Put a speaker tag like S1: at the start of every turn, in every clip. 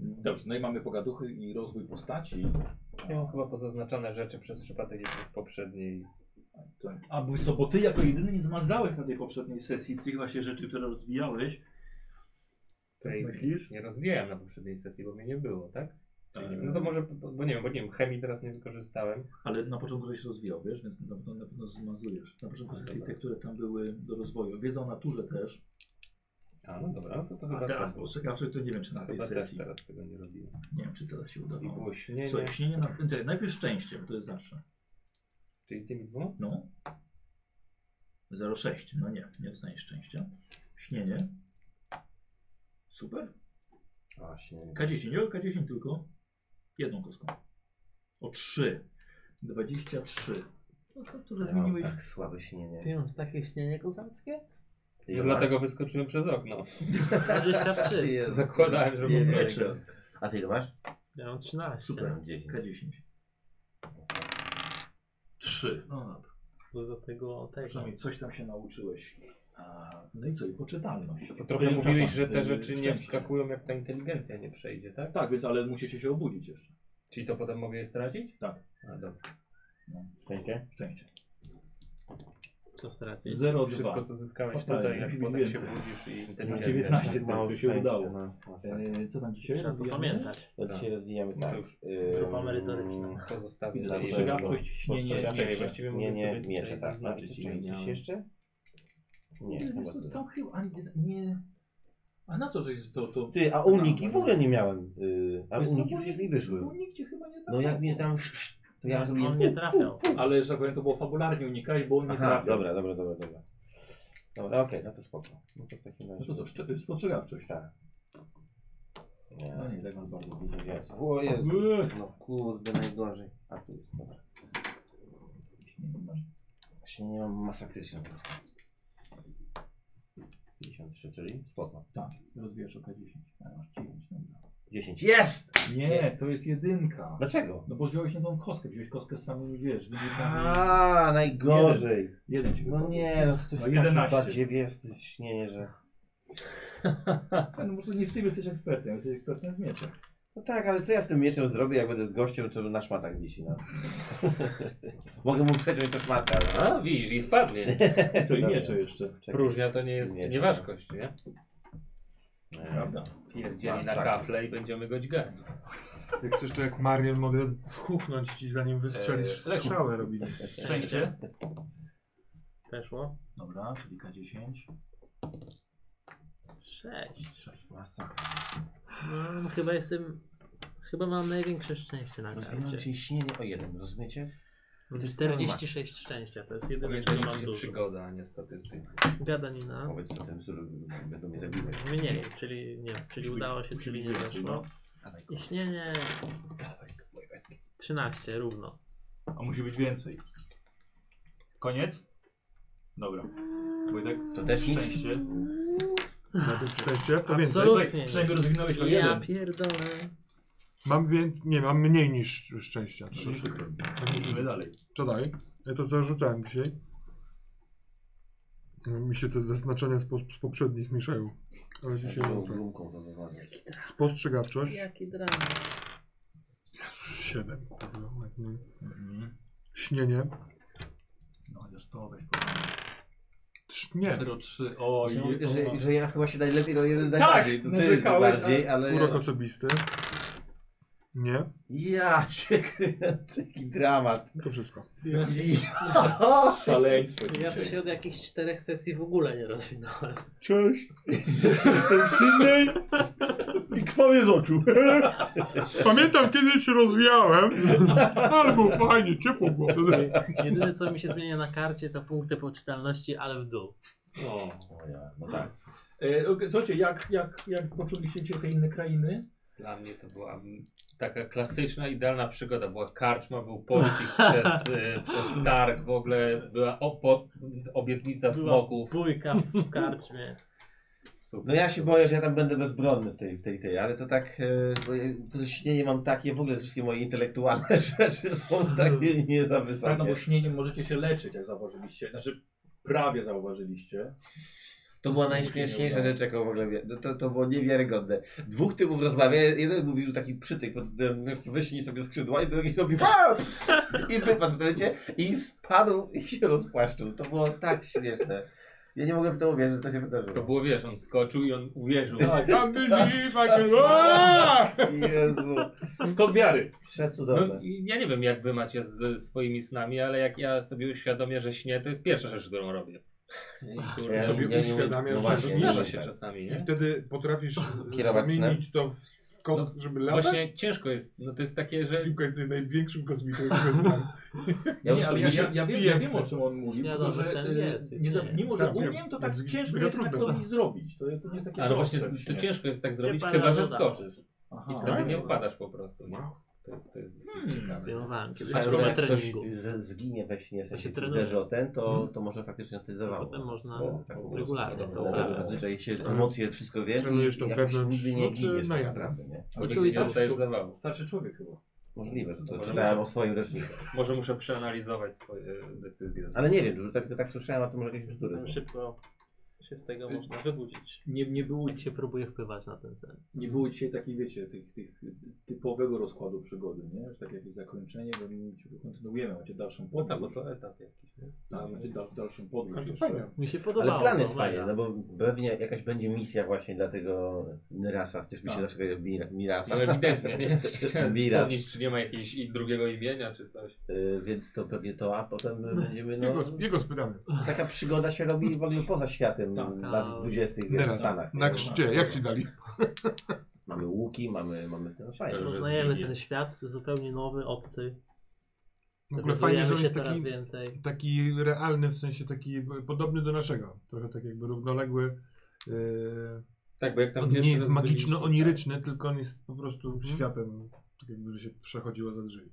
S1: Dobrze, no i mamy pogaduchy i rozwój postaci.
S2: Ja mam chyba pozaznaczone rzeczy przez przypadek jeszcze z poprzedniej.
S1: To-
S3: A bo, co, bo ty jako jedyny nie zmazałeś na tej poprzedniej sesji tych właśnie rzeczy, które rozwijałeś.
S2: Tej
S3: Tak Myślisz?
S2: Nie rozwijałem na poprzedniej sesji, bo mnie nie było, tak? Czyli nie
S3: E,
S2: wiem. No to może, bo bo nie wiem, bo nie wiem, chemii teraz nie wykorzystałem.
S3: Ale na początku żeś rozwijał, wiesz, więc na pewno, na pewno zmazujesz. Na początku
S2: Ale
S3: sesji
S2: dobra.
S3: te, które tam były do rozwoju. Wiedza o naturze też.
S2: A no dobra, no to, to chyba
S3: A
S1: tak.
S3: teraz
S2: to,
S3: ostrzegawczy to nie wiem, czy na tej
S2: chyba też
S3: sesji.
S2: teraz tego nie robiłem.
S3: Nie wiem, czy teraz się
S2: I
S3: udało.
S2: było śnienie,
S3: Słuchaj, śnienie na... Czekaj, najpierw szczęście, bo to jest zawsze.
S2: czyli tymi dwoma?
S3: No. 06, no nie, nie dostaniesz szczęścia. Śnienie. Super.
S4: A, śnienie.
S3: K10, o K10 tylko. Jedną kostką. O 3. 23. No to, które
S4: Ja mam
S3: zmieniłeś.
S4: tak słabe śnienie.
S5: Ty masz takie śnienie kozackie?
S4: Ja
S2: No
S4: mam-
S2: dlatego wyskoczyłem przez okno.
S5: 23.
S4: Jezu.
S2: Zakładałem, że
S4: Nie
S2: mam
S4: wiem.
S3: Mecze.
S4: A ty ile masz?
S5: Ja mam 13.
S4: Ja
S3: Super.
S4: mam 10.
S3: K10. 3. No dobra.
S5: Bo do tego tego.
S3: No Przynajmniej coś tam się nauczyłeś. A, no i co? I poczytalność.
S2: To trochę
S3: Y,
S2: mówiłeś,
S3: przepraszam,
S2: że te
S3: y,
S2: rzeczy nie
S3: szczęście.
S2: wskakują, jak ta inteligencja nie przejdzie, tak?
S3: Tak, więc ale musicie się obudzić jeszcze.
S2: Czyli to potem mogę je stracić?
S3: Tak.
S2: A dobra.
S3: No,
S4: Szczęście?
S3: szczęście.
S5: Co stracić?
S3: 0,2.
S2: Wszystko, co zyskałeś
S3: Fatalnie,
S2: tutaj, jak
S3: musi
S2: potem
S3: być
S2: się
S3: więcej.
S2: budzisz i
S3: Masz
S2: inteligencja.
S3: 19,
S4: Tak, mało
S3: to się
S4: szczęścia,
S3: udało.
S4: No, masakra.
S3: E, co tam dzisiaj?
S5: Trzeba to
S3: Rozwijamy?
S5: pamiętać.
S4: no dzisiaj rozwijamy
S2: No
S4: tak.
S2: już.
S4: ym,
S5: Grupa merytoryczna.
S2: Pozostawię
S3: Widzę,
S2: na
S4: tak,
S2: jej-
S4: że-
S3: spostrzegawczość, śnienie,
S4: Postrzegam,
S2: Nie,
S3: szczęście.
S2: właściwie
S4: Nie,
S2: mogę
S4: nie,
S2: sobie
S4: miecze,
S2: tutaj
S4: tak. No,
S2: zaznaczyć,
S4: czy
S2: ile
S4: czy coś
S2: miałem.
S4: jeszcze? Nie,
S3: Nie,
S4: chyba
S3: wiesz co,
S4: tyle.
S3: tam chyba, a nie, nie. A na co żeś to. to...
S4: Ty, a uniki w ogóle nie miałem. y, A
S3: Wiesz co,
S4: uniki
S3: bo
S4: przecież
S3: nie- tak.
S4: mi wyszły.
S3: Bo nikt cię chyba nie trafił.
S4: No jak mnie tam... To ja
S5: On
S4: zrobiłem...
S5: No, nie
S4: pu, pu,
S5: trafiał.
S4: pu.
S3: Ale że tak powiem, to było fabularnie unikaj, bo on nie
S4: Aha,
S3: trafił.
S4: dobra, dobra, dobra, dobra. Dobra, okej, no to spoko. No to w takim razie...
S3: No to co, szcz- spostrzegawczość.
S4: Tak. Nie,
S3: No nie, tak mam bardzo dużo.
S4: jest. O Jezu.
S3: Eee.
S4: No kurde, najgorzej. A tu jest, dobra. Właśnie nie mam masakryczne. 53, czyli spoko.
S3: Tak, rozwijasz oka 10. A masz 9, dobra.
S4: 10. Jest!
S3: Nie, to jest jedynka.
S4: Dlaczego?
S3: No bo wziąłeś nie tą kostkę, wziąłeś kostkę z samymi, wiesz, wynikami.
S4: A, najgorzej.
S3: Jeden ci
S4: No
S3: wypadł.
S4: nie, no to
S3: No,
S4: jest
S3: 11.
S4: takie badziewie, jest śnienie, że...
S3: Słuchaj, No po prostu nie w tym jesteś ekspertem, jesteś ekspertem w mieczach.
S4: No tak, ale co ja z tym mieczem zrobię, jak będę z gościem, co na szmatach wisi, no. Mogę mu przeciąć to szmatę, ale...
S2: A, widzisz, i spadnie.
S3: I co, i
S4: Dobra.
S3: miecze jeszcze.
S4: Czekaj.
S2: Próżnia to nie jest
S4: Nie,
S2: nieważkość, nie?
S4: No
S3: Prawda.
S2: Pierdzieli na
S4: Masakra.
S2: kafle i będziemy go dźgać.
S6: Jak chcesz, to jak Marian mogę wchuchnąć ci, zanim wystrzelisz
S3: Eee,
S6: strzałę robimy.
S3: Szczęście.
S5: Weszło?
S3: Dobra, czyli K10.
S5: 6.
S4: Masakra.
S5: No, chyba jestem... Chyba mam największe szczęście na
S4: Rozwinąłem
S5: karcie.
S4: się śnienie o jeden, rozumiecie?
S5: Mam
S4: To jest
S5: 46 szczęścia, to jest jedyne,
S2: Pamiętaj,
S5: czego
S2: że
S5: mam
S2: się
S5: dużo.
S2: przygoda, a nie statystyka.
S5: Gadanina.
S4: Powiedz co tym, którym będą mnie zabiły.
S5: Mniej, czyli nie, czyli udało się, czyli nie
S3: no.
S5: weszło.
S4: Dawaj,
S5: I śnienie
S4: dawaj, moje bestie.
S5: 13 równo.
S1: A musi być więcej. Koniec? Dobra. Wojtek?
S4: To też nic?
S1: Szczęście.
S6: Szczęście? To więcej.
S5: Absolutnie.
S1: Słuchaj, Przynajmniej go rozwinąłeś o
S5: Ja
S1: jeden.
S5: pierdolę.
S6: Mam więc, nie, mam mniej niż szczęścia. 30.
S1: Musimy dalej.
S6: To daj. Ja to zarzucałem dzisiaj. Mi się te zaznaczenia z, po, z poprzednich mieszają. Ale dzisiaj
S4: Trzeba
S6: mam
S4: było
S6: tak.
S4: gumką to wywalić.
S6: Spostrzegawczość.
S5: Jaki dramat.
S6: 7. Kurwa, ładnie.
S3: Mhm.
S6: tak, no. Śnienie.
S3: No chociaż to weź po
S6: Trz- Nie.
S3: 0,3. Oj,
S4: Że,
S3: o,
S4: że,
S1: no.
S4: że ja chyba się najlepiej o jeden daj
S3: Tak,
S4: bardziej. To ty
S3: narzekałeś,
S4: bardziej, ale...
S6: Urok osobisty. Nie.
S4: Ja cię kręcę, jaki dramat.
S6: To wszystko.
S4: Ja.
S3: Szaleństwo
S5: Ja to
S3: dzisiaj.
S5: się od jakichś czterech sesji w ogóle nie rozwinąłem.
S4: Cześć. Jestem silny i krwawie z oczu.
S6: Pamiętam kiedyś się rozwijałem. Ale było fajnie, ciepło było wtedy.
S5: Jedyne co mi się zmienia na karcie to punkty poczytalności, ale w dół.
S3: O.
S4: O ja, no tak.
S3: E, ok, słuchajcie, jak, jak, jak poczuliście się te inne krainy?
S2: Dla mnie to była mm, taka klasyczna, idealna przygoda. Była karczma, był pościg przez, y, przez targ, w ogóle była opo- obietnica smoków.
S5: bójka w karczmie.
S2: Super.
S4: No ja się boję, że ja tam będę bezbronny w tej, w tej, tej ale to tak, e, bo ja- to śnienie mam takie, w ogóle wszystkie moje intelektualne rzeczy są takie nie za
S3: Tak, no
S4: wysokie.
S3: bo śnieniem możecie się leczyć, jak zauważyliście. Znaczy, prawie zauważyliście.
S4: To była najśmieszniejsza rzecz, jaką w ogóle wie. no To, to było niewiarygodne. Dwóch typów rozmawia, jeden mówił taki przytyk, pod tytułem, "Wiesz co, wyśnij sobie skrzydła i drugi robi "A!" i wypadł wiecie, i spadł i się rozpłaszczył. To było tak śmieszne. Ja nie mogłem w to uwierzyć, że to się
S2: To
S4: wydarzyło.
S2: było, wiesz, on skoczył i on uwierzył.
S6: Tam ty dziw, a ty- Aaa!
S4: Jezu,
S3: Skok wiary.
S2: No,
S4: przecudowne.
S2: i ja nie wiem, jak wy macie z swoimi snami, ale jak ja sobie uświadomię, że śnię, to jest pierwsza rzecz, którą robię. I
S4: Ja
S2: kurde,
S6: sobie
S4: nie- nie-
S6: uświadamiasz, że
S4: właśnie,
S2: zdarza
S4: nie-
S2: się czasami,
S6: I
S2: nie?
S6: wtedy potrafisz
S4: Kierować
S6: zmienić to w skok,
S2: No,
S6: żeby latać?
S2: Właśnie ciężko jest, no to jest takie, że
S6: Piłka jest największym kosmitą, którego znam.
S4: Ja
S3: nie, ale ja, ja,
S4: się
S3: ja, wiem, ja wiem o czym on mówi.
S5: Wiadomo,
S3: tylko,
S5: że
S3: że,
S5: sen
S3: y,
S5: jest,
S3: nie, za-
S5: istnieje.
S3: mimo, że
S6: Tak, wiem.
S3: umiem, to tak
S6: Mega
S3: ciężko jest tak
S6: trudne,
S3: to
S6: tak.
S3: mi zrobić. To, to nie jest takie
S2: Ale
S3: proste.
S2: właśnie
S3: w
S2: to
S3: śnie.
S2: ciężko jest tak zrobić,
S5: pana
S2: chyba że
S5: Roza.
S2: skoczysz. I
S3: Aha.
S2: wtedy
S6: Tak?
S2: nie upadasz po prostu. Nie?
S6: Wow.
S2: To jest, to jest
S3: Hmm.
S2: ciekawe.
S5: Trenowałem kiedyś.
S4: Myślałem, że
S5: Aczkolwiek
S4: jak ktoś
S5: No, znaczy, treningu.
S4: z- zginie we śnie, w
S5: To się
S4: sensie
S5: trenuje.
S4: uderzy o ten, to, to może faktycznie wtedy zawało.
S5: Potem można
S4: O, tak po prostu.
S5: regularnie
S2: Dobra,
S5: to Tak.
S2: dobra.
S5: uprawiać.
S4: Zazwyczaj się emocje wszystko wie
S6: Trenujesz
S4: i
S6: to
S4: jakoś
S6: wewnątrz
S4: nigdy nie
S6: snu, czy
S4: giniesz
S6: na
S4: tak
S6: jaw?
S4: naprawdę, nie?
S2: Bo
S3: to
S2: nigdy
S3: jest
S2: nie dostajesz
S3: starszy-
S2: zawału.
S3: Starszy człowiek chyba.
S4: Możliwe, że to
S2: Może
S4: czytałem
S2: muszę-
S4: o swoim leczniku.
S2: Może muszę przeanalizować swoje e, decyzje.
S4: Ale nie wiem, tak, tak słyszałem, a to może jakieś bzdury. są.
S5: Szybko się z tego można wybudzić.
S3: Nie, nie, było,
S5: Jak się próbuje wpływać na ten sen.
S3: nie było dzisiaj takiej, wiecie, tych, tych typowego rozkładu przygody, nie? Że takie jakieś zakończenie, bo my kontynuujemy, macie dalszą
S2: No tak, bo
S3: podróż.
S2: to tak. etap jakiś. nie?
S3: Tam, macie dal, dalszą podróż
S6: Ale to
S3: jeszcze.
S6: fajnie.
S5: Mi się podobało.
S4: Ale plan
S5: to
S4: jest fajny,
S5: mega.
S4: no bo pewnie jakaś będzie misja właśnie dla tego Nyrasa, też mi się
S3: Tak.
S4: zawsze kojarzy Mir- Mirasa,
S2: No ewidentnie, nie? Chciałem
S4: Miraz.
S2: sprawdzić, czy nie ma jakiegoś i drugiego imienia, czy coś.
S4: Y, więc to pewnie to, a potem będziemy, no,
S6: Jego, jego spytamy.
S4: taka przygoda się robi w ogóle poza światem
S3: Tak,
S4: tak,
S5: tak.
S4: lat 20. wiesz, w
S6: Teraz,
S4: Stanach.
S2: No,
S6: na
S4: nie?
S6: krzcie, jak ci dali?
S4: Mamy łuki, mamy, mamy, no fajnie.
S2: Dobrze.
S5: Poznajemy
S2: zmieni.
S5: ten świat, zupełnie nowy, obcy.
S6: W ogóle fajnie, że
S5: Dowiadujemy
S6: on
S5: się
S6: jest
S5: coraz
S6: taki,
S5: więcej.
S6: taki realny, w sensie taki e, podobny do naszego. Trochę tak jakby równoległy. Yy,
S2: Tak, bo jak tam
S6: on nie
S2: pierwszy
S6: jest
S2: raz byliśmy, tak. Mhm.
S6: magiczno-oniryczny, tylko on jest po prostu światem, tak jakby się przechodziło za drzwi.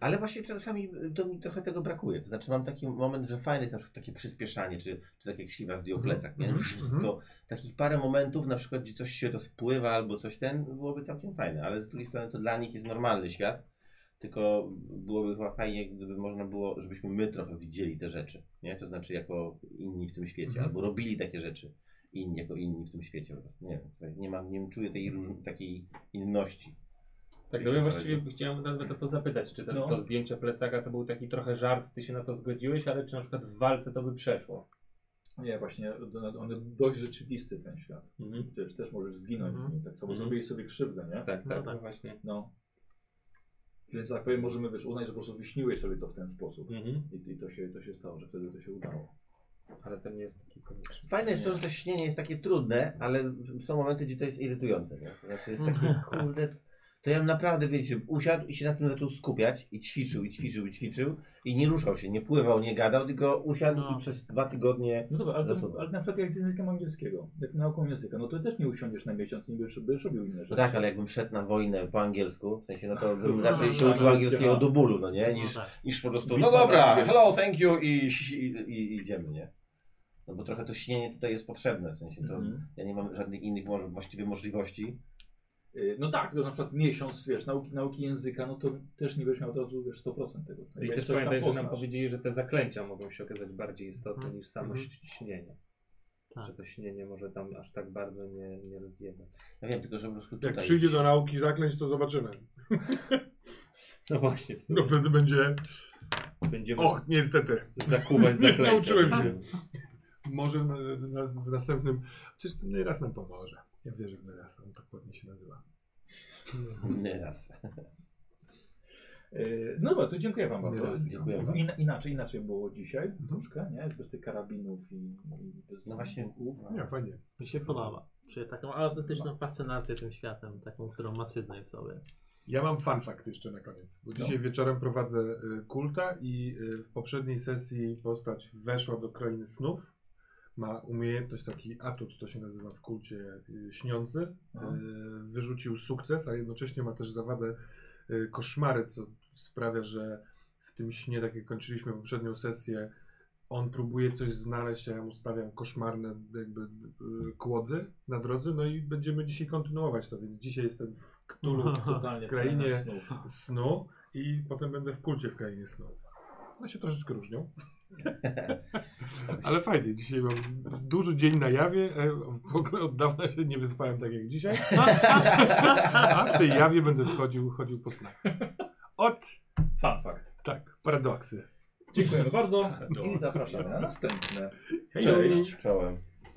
S4: Ale właśnie czasami e, to mi trochę tego brakuje. To znaczy mam taki moment, że fajne jest na przykład takie przyspieszanie, czy, czy tak jak Siwa zdjął
S6: Mhm.
S4: plecak, nie?
S6: Mhm.
S4: To takich parę momentów, na przykład gdzie coś się rozpływa albo coś ten, byłoby całkiem fajne, ale z drugiej strony to dla nich jest normalny świat, tylko byłoby chyba fajnie, gdyby można było, żebyśmy my trochę widzieli te rzeczy, nie? To znaczy jako inni w tym świecie,
S6: Mhm.
S4: albo robili takie rzeczy inni, jako inni w tym świecie. po prostu. Nie wiem, tutaj nie mam, nie wiem, czuję tej różni- takiej inności.
S2: Tak, no
S4: Wiecie,
S2: ja
S4: co
S2: właściwie chciałem nawet o to zapytać, czy ten,
S3: No.
S2: to zdjęcie plecaka to był taki trochę żart, ty się na to zgodziłeś, ale czy na przykład w walce to by przeszło?
S3: Nie, właśnie, on dość rzeczywisty ten świat.
S2: Mhm.
S3: Przecież też możesz zginąć
S6: Mhm.
S3: w nim, tak samo
S2: Mhm.
S3: zrobili sobie krzywdę, nie?
S2: Tak,
S5: No
S2: tak,
S5: tak.
S2: właśnie.
S3: No. Więc tak powiem, możemy wiesz, uznać, że po prostu wyśniłeś sobie to w ten sposób.
S2: Mhm.
S3: I, i to, się, to się stało, że wtedy to się udało.
S2: Ale to nie jest taki konieczny.
S4: Fajne jest to, że to śnienie jest takie trudne, ale są momenty, gdzie to jest irytujące. Nie? To znaczy jest takie, kurde, to ja bym naprawdę, wiecie, usiadł i się na tym zaczął skupiać i ćwiczył, i ćwiczył, i ćwiczył i nie ruszał się, nie pływał, nie gadał, tylko usiadł
S5: No.
S4: i przez dwa tygodnie
S3: No dobra, ale,
S4: Za
S3: to,
S4: sobą.
S3: ale na przykład jak z językiem angielskiego, jak nauką języka, no to też nie usiądziesz na miesiąc, nie będziesz, będziesz robił inne rzeczy.
S4: No tak, ale jakbym szedł na wojnę po angielsku, w sensie no to bym
S3: No,
S4: raczej się
S5: tak,
S4: uczył angielskiego do bólu, no nie,
S5: No
S4: niż,
S5: tak.
S4: niż po prostu,
S3: Bitwa
S4: no
S3: na
S4: dobra,
S3: angielsku.
S4: hello, thank you i, i, i idziemy, nie. No bo trochę to śnienie tutaj jest potrzebne, w sensie to
S3: Mhm.
S4: ja nie mam żadnych innych może, właściwie możliwości.
S3: Y, No tak, tylko na przykład miesiąc, wiesz, nauki, nauki języka, no to też nie będziesz miał od razu, wiesz, 100% tego.
S2: I
S3: Jak
S2: też
S3: coś tam
S2: pamiętaj, że nam
S3: poznasz.
S2: powiedzieli, że te zaklęcia mogą się okazać bardziej istotne niż samo
S6: Mhm.
S2: śnienie.
S5: Tak.
S2: Że to śnienie może tam aż tak bardzo nie, nie rozjebać.
S4: Ja wiem tylko, że po prostu
S6: Jak
S4: tutaj...
S6: przyjdzie do nauki zaklęć, to zobaczymy.
S2: No właśnie, w
S6: No
S2: sumie
S6: wtedy będzie,
S2: będziemy
S6: och, niestety.
S2: zakuwać
S6: Nie
S2: zaklęcia. Tak.
S6: nauczyłem się. Może e, na, w następnym, przecież ten nieraz nam pomoże. Ja wierzę w nieraz, on tak ładnie się nazywa.
S4: Nieraz.
S3: Y, No dobra, to dziękuję Wam
S6: Nie,
S3: bardzo.
S4: dziękuję bardzo.
S3: In, inaczej, inaczej było dzisiaj, troszkę, nie? Bez tych karabinów i, i bez
S4: Mhm. No właśnie,
S6: Nie, fajnie.
S5: Mi się podoba. Czuję taką autentyczną fascynację tym światem, taką, którą ma Sydney w sobie.
S6: Ja mam fun fact jeszcze na koniec, bo dzisiaj wieczorem prowadzę y, kulta i y, w poprzedniej sesji postać weszła do krainy snów. Ma umiejętność, taki atut, to się nazywa w kulcie y, śniący. Y,
S3: Aha.
S6: Wyrzucił sukces, a jednocześnie ma też zawadę y, koszmary, co sprawia, że w tym śnie, tak jak kończyliśmy poprzednią sesję, on próbuje coś znaleźć, a ja mu stawiam koszmarne jakby y, kłody na drodze, no i będziemy dzisiaj kontynuować to, więc dzisiaj jestem w
S3: No.
S6: Cthulhu, w
S3: totalnie
S6: krainie-
S3: pełna snów.
S6: snu i potem będę w kulcie w krainie snu. One się No troszeczkę różnią. Ale fajnie, dzisiaj mam duży dzień na jawie. e, W ogóle od dawna się nie wyspałem tak jak dzisiaj. A w tej jawie będę chodził, chodził po snach. Od,
S1: Fun fact.
S6: tak, paradoksy.
S1: Dziękujemy bardzo i
S3: Tak,
S2: Paradoks.
S1: zapraszamy na następne.
S5: Hej,
S1: Cześć.
S4: Czołem.